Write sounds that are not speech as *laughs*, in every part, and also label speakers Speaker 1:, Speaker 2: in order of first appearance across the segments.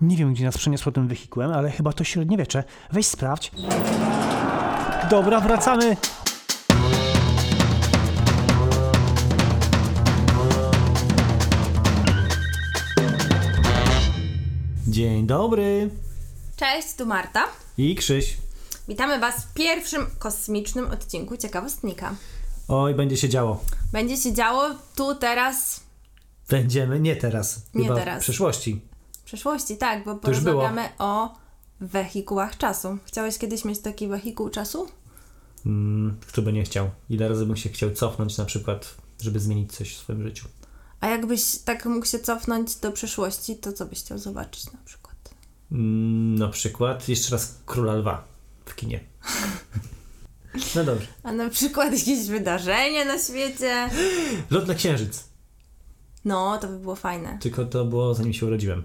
Speaker 1: Nie wiem, gdzie nas przeniosło tym wehikułem, ale chyba to średniowiecze. Weź sprawdź. Dobra, wracamy. Dzień dobry.
Speaker 2: Cześć, tu Marta.
Speaker 1: I Krzyś.
Speaker 2: Witamy Was w pierwszym kosmicznym odcinku Ciekawostnika.
Speaker 1: Oj, będzie się działo.
Speaker 2: Będzie się działo tu, teraz,
Speaker 1: Będziemy, nie teraz.
Speaker 2: Nie
Speaker 1: chyba
Speaker 2: teraz.
Speaker 1: W przyszłości.
Speaker 2: w przyszłości, tak, bo
Speaker 1: już było.
Speaker 2: porozmawiamy o wehikułach czasu. Chciałeś kiedyś mieć taki wehikuł czasu?
Speaker 1: Mm, kto by nie chciał? Ile razy bym się chciał cofnąć na przykład, żeby zmienić coś w swoim życiu?
Speaker 2: A jakbyś tak mógł się cofnąć do przeszłości, to co byś chciał zobaczyć na przykład?
Speaker 1: Mm, na przykład jeszcze raz Króla Lwa w kinie.
Speaker 2: *laughs*
Speaker 1: No dobrze.
Speaker 2: A na przykład *laughs* jakieś wydarzenie na świecie?
Speaker 1: Lot na Księżyc.
Speaker 2: No, to by było fajne.
Speaker 1: Tylko to było zanim się urodziłem.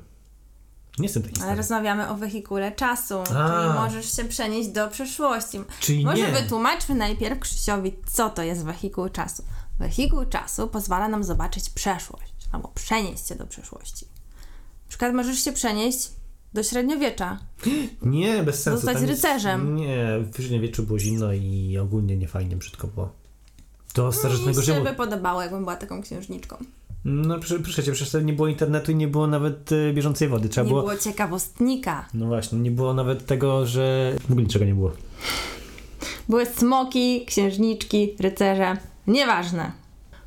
Speaker 1: Nie jestem taki
Speaker 2: Ale
Speaker 1: stary.
Speaker 2: rozmawiamy o wehikule czasu,
Speaker 1: A.
Speaker 2: czyli możesz się przenieść do przeszłości.
Speaker 1: Czyli
Speaker 2: Może
Speaker 1: nie.
Speaker 2: wytłumaczmy najpierw Krzysiowi, co to jest wehikuł czasu. Wehikuł czasu pozwala nam zobaczyć przeszłość, albo przenieść się do przeszłości. Na przykład możesz się przenieść do średniowiecza.
Speaker 1: Nie, bez sensu.
Speaker 2: Zostać
Speaker 1: tam jest-
Speaker 2: rycerzem.
Speaker 1: Nie, w średniowieczu było zimno i ogólnie niefajnie brzydko było. Do
Speaker 2: Mi
Speaker 1: starożytnego
Speaker 2: się
Speaker 1: Rzymu.
Speaker 2: by podobało, jakbym była taką księżniczką.
Speaker 1: No prze- przecież, przecież wtedy nie było internetu i nie było nawet e, bieżącej wody. Trzeba
Speaker 2: Nie
Speaker 1: było...
Speaker 2: było ciekawostnika.
Speaker 1: No właśnie, nie było nawet tego, że... W ogóle niczego nie było.
Speaker 2: Były smoki, księżniczki, rycerze. Nieważne.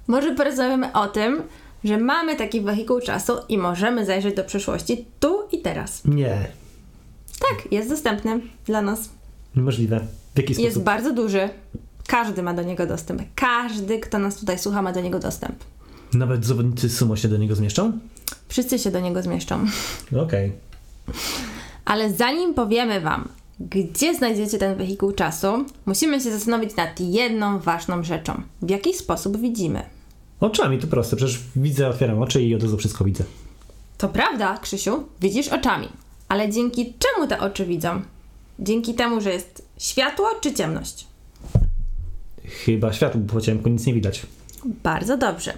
Speaker 2: Może porozmawiamy o tym, że mamy taki wehikuł czasu i możemy zajrzeć do przeszłości tu i teraz.
Speaker 1: Nie.
Speaker 2: Tak, jest dostępny dla nas.
Speaker 1: Niemożliwe. W jaki
Speaker 2: Jest
Speaker 1: sposób?
Speaker 2: bardzo duży. Każdy ma do niego dostęp. Każdy, kto nas tutaj słucha, ma do niego dostęp.
Speaker 1: Nawet zawodnicy sumo się do niego zmieszczą?
Speaker 2: Wszyscy się do niego zmieszczą.
Speaker 1: Okej.
Speaker 2: Ale zanim powiemy Wam, gdzie znajdziecie ten wehikuł czasu, musimy się zastanowić nad jedną ważną rzeczą. W jaki sposób widzimy?
Speaker 1: Oczami to proste, przecież widzę, otwieram oczy i od razu wszystko widzę.
Speaker 2: To prawda, Krzysiu, widzisz oczami. Ale dzięki czemu te oczy widzą? Dzięki temu, że jest światło czy ciemność?
Speaker 1: Chyba światło, bo po ciemku nic nie widać.
Speaker 2: Bardzo dobrze.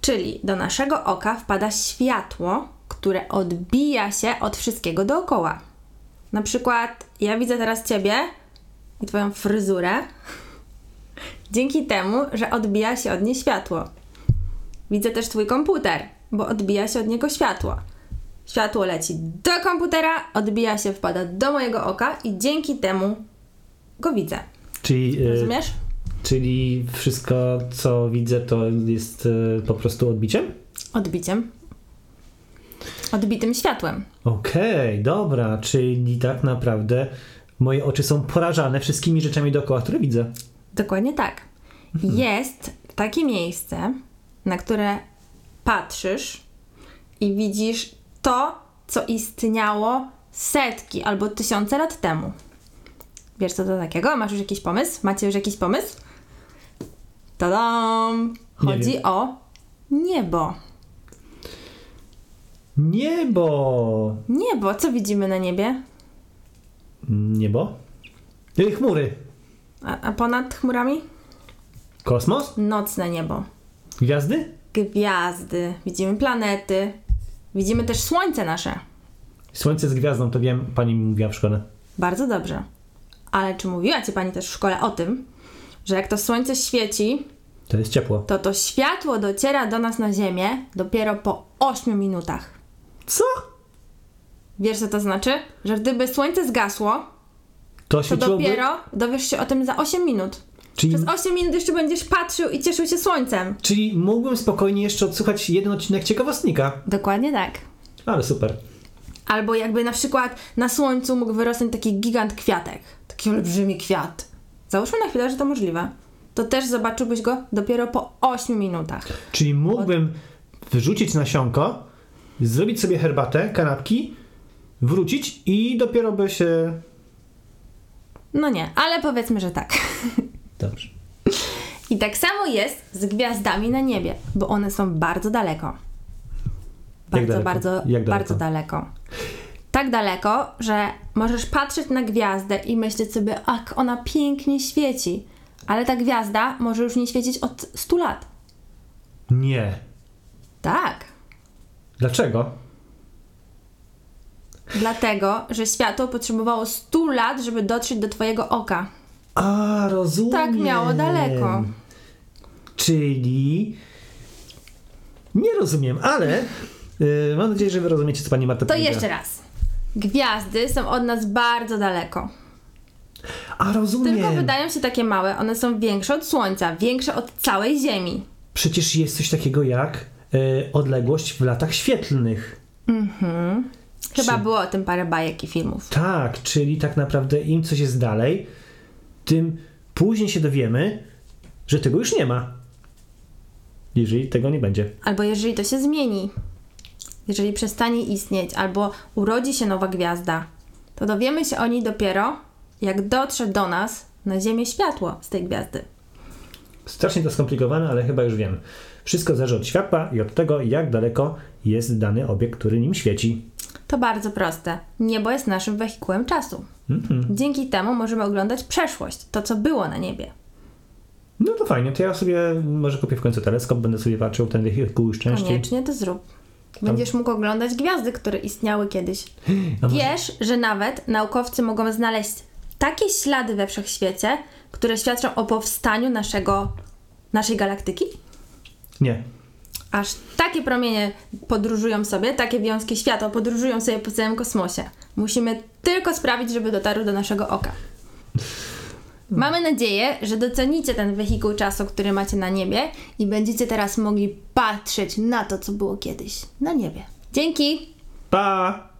Speaker 2: Czyli do naszego oka wpada światło, które odbija się od wszystkiego dookoła. Na przykład ja widzę teraz Ciebie i Twoją fryzurę dzięki temu, że odbija się od niej światło. Widzę też Twój komputer, bo odbija się od niego światło. Światło leci do komputera, odbija się, wpada do mojego oka i dzięki temu go widzę.
Speaker 1: Czyli, e,
Speaker 2: Rozumiesz?
Speaker 1: czyli wszystko, co widzę, to jest e, po prostu odbiciem?
Speaker 2: Odbiciem. Odbitym światłem.
Speaker 1: Okej, dobra, czyli tak naprawdę moje oczy są porażane wszystkimi rzeczami dookoła, które widzę.
Speaker 2: Dokładnie tak. Jest takie miejsce, na które patrzysz i widzisz to, co istniało setki albo tysiące lat temu. Wiesz co to takiego? Masz już jakiś pomysł? Macie już jakiś pomysł? Tadam!
Speaker 1: Nie
Speaker 2: Chodzi
Speaker 1: wiem.
Speaker 2: o niebo.
Speaker 1: Niebo!
Speaker 2: Niebo, co widzimy na niebie?
Speaker 1: Niebo? Y, Chmury!
Speaker 2: A, a ponad chmurami?
Speaker 1: Kosmos?
Speaker 2: Nocne niebo.
Speaker 1: Gwiazdy?
Speaker 2: gwiazdy, widzimy planety, widzimy też słońce nasze.
Speaker 1: Słońce z gwiazdą, to wiem, pani mi mówiła w szkole.
Speaker 2: Bardzo dobrze. Ale czy mówiła Ci Pani też w szkole o tym, że jak to słońce świeci,
Speaker 1: To jest ciepło.
Speaker 2: to to światło dociera do nas na Ziemię dopiero po 8 minutach.
Speaker 1: Co?
Speaker 2: Wiesz co to znaczy? Że gdyby słońce zgasło,
Speaker 1: To
Speaker 2: to
Speaker 1: świeciłoby...
Speaker 2: dopiero dowiesz się o tym za 8 minut.
Speaker 1: Czyli,
Speaker 2: Przez 8 minut jeszcze będziesz patrzył i cieszył się słońcem.
Speaker 1: czyli mógłbym spokojnie jeszcze odsłuchać jeden odcinek ciekawostnika.
Speaker 2: Dokładnie tak.
Speaker 1: Ale super.
Speaker 2: Albo jakby na przykład na słońcu mógł wyrosnąć taki gigant kwiatek, taki olbrzymi kwiat. Załóżmy na chwilę, że to możliwe. To też zobaczyłbyś go dopiero po 8 minutach.
Speaker 1: Czyli mógłbym wyrzucić nasionko, zrobić sobie herbatę, kanapki, wrócić i dopiero by się...
Speaker 2: No nie, ale powiedzmy, że tak.
Speaker 1: Dobrze.
Speaker 2: I tak samo jest z gwiazdami na niebie, bo one są bardzo daleko. Bardzo,
Speaker 1: daleko?
Speaker 2: bardzo,
Speaker 1: Jak daleko?
Speaker 2: bardzo daleko. Tak daleko, że możesz patrzeć na gwiazdę i myśleć sobie, ak ona pięknie świeci. Ale ta gwiazda może już nie świecić od 100 lat.
Speaker 1: Nie.
Speaker 2: Tak.
Speaker 1: Dlaczego?
Speaker 2: Dlatego, że światło potrzebowało 100 lat, żeby dotrzeć do Twojego oka.
Speaker 1: A, rozumiem.
Speaker 2: Tak miało daleko.
Speaker 1: Czyli... Nie rozumiem, ale y, mam nadzieję, że wy rozumiecie, co pani Marta
Speaker 2: To
Speaker 1: powiedziała.
Speaker 2: jeszcze raz. Gwiazdy są od nas bardzo daleko.
Speaker 1: A, rozumiem.
Speaker 2: Tylko wydają się takie małe. One są większe od Słońca, większe od całej Ziemi.
Speaker 1: Przecież jest coś takiego jak y, odległość w latach świetlnych.
Speaker 2: Chyba było o tym parę bajek i filmów.
Speaker 1: Tak, czyli tak naprawdę im coś jest dalej, tym później się dowiemy, że tego już nie ma. Jeżeli tego nie będzie.
Speaker 2: Albo jeżeli to się zmieni, jeżeli przestanie istnieć, albo urodzi się nowa gwiazda, to dowiemy się o niej dopiero, jak dotrze do nas na Ziemię światło z tej gwiazdy.
Speaker 1: Strasznie to skomplikowane, ale chyba już wiem. Wszystko zależy od światła i od tego, jak daleko jest dany obiekt, który nim świeci.
Speaker 2: To bardzo proste. Niebo jest naszym wehikułem czasu. Dzięki temu możemy oglądać przeszłość, to co było na niebie.
Speaker 1: No to fajnie, to ja sobie może kupię w końcu teleskop, będę sobie patrzył w ten wehikuł szczęścia.
Speaker 2: Koniecznie to zrób. Będziesz mógł oglądać gwiazdy, które istniały kiedyś.
Speaker 1: A może-
Speaker 2: Wiesz, że nawet naukowcy mogą znaleźć takie ślady we wszechświecie, które świadczą o powstaniu naszego, naszej galaktyki?
Speaker 1: Nie.
Speaker 2: Aż takie promienie podróżują sobie, takie wiązki światła podróżują sobie po całym kosmosie. Musimy tylko sprawić, żeby dotarły do naszego oka. Mamy nadzieję, że docenicie ten wehikuł czasu, który macie na niebie i będziecie teraz mogli patrzeć na to, co było kiedyś na niebie. Dzięki!
Speaker 1: Pa!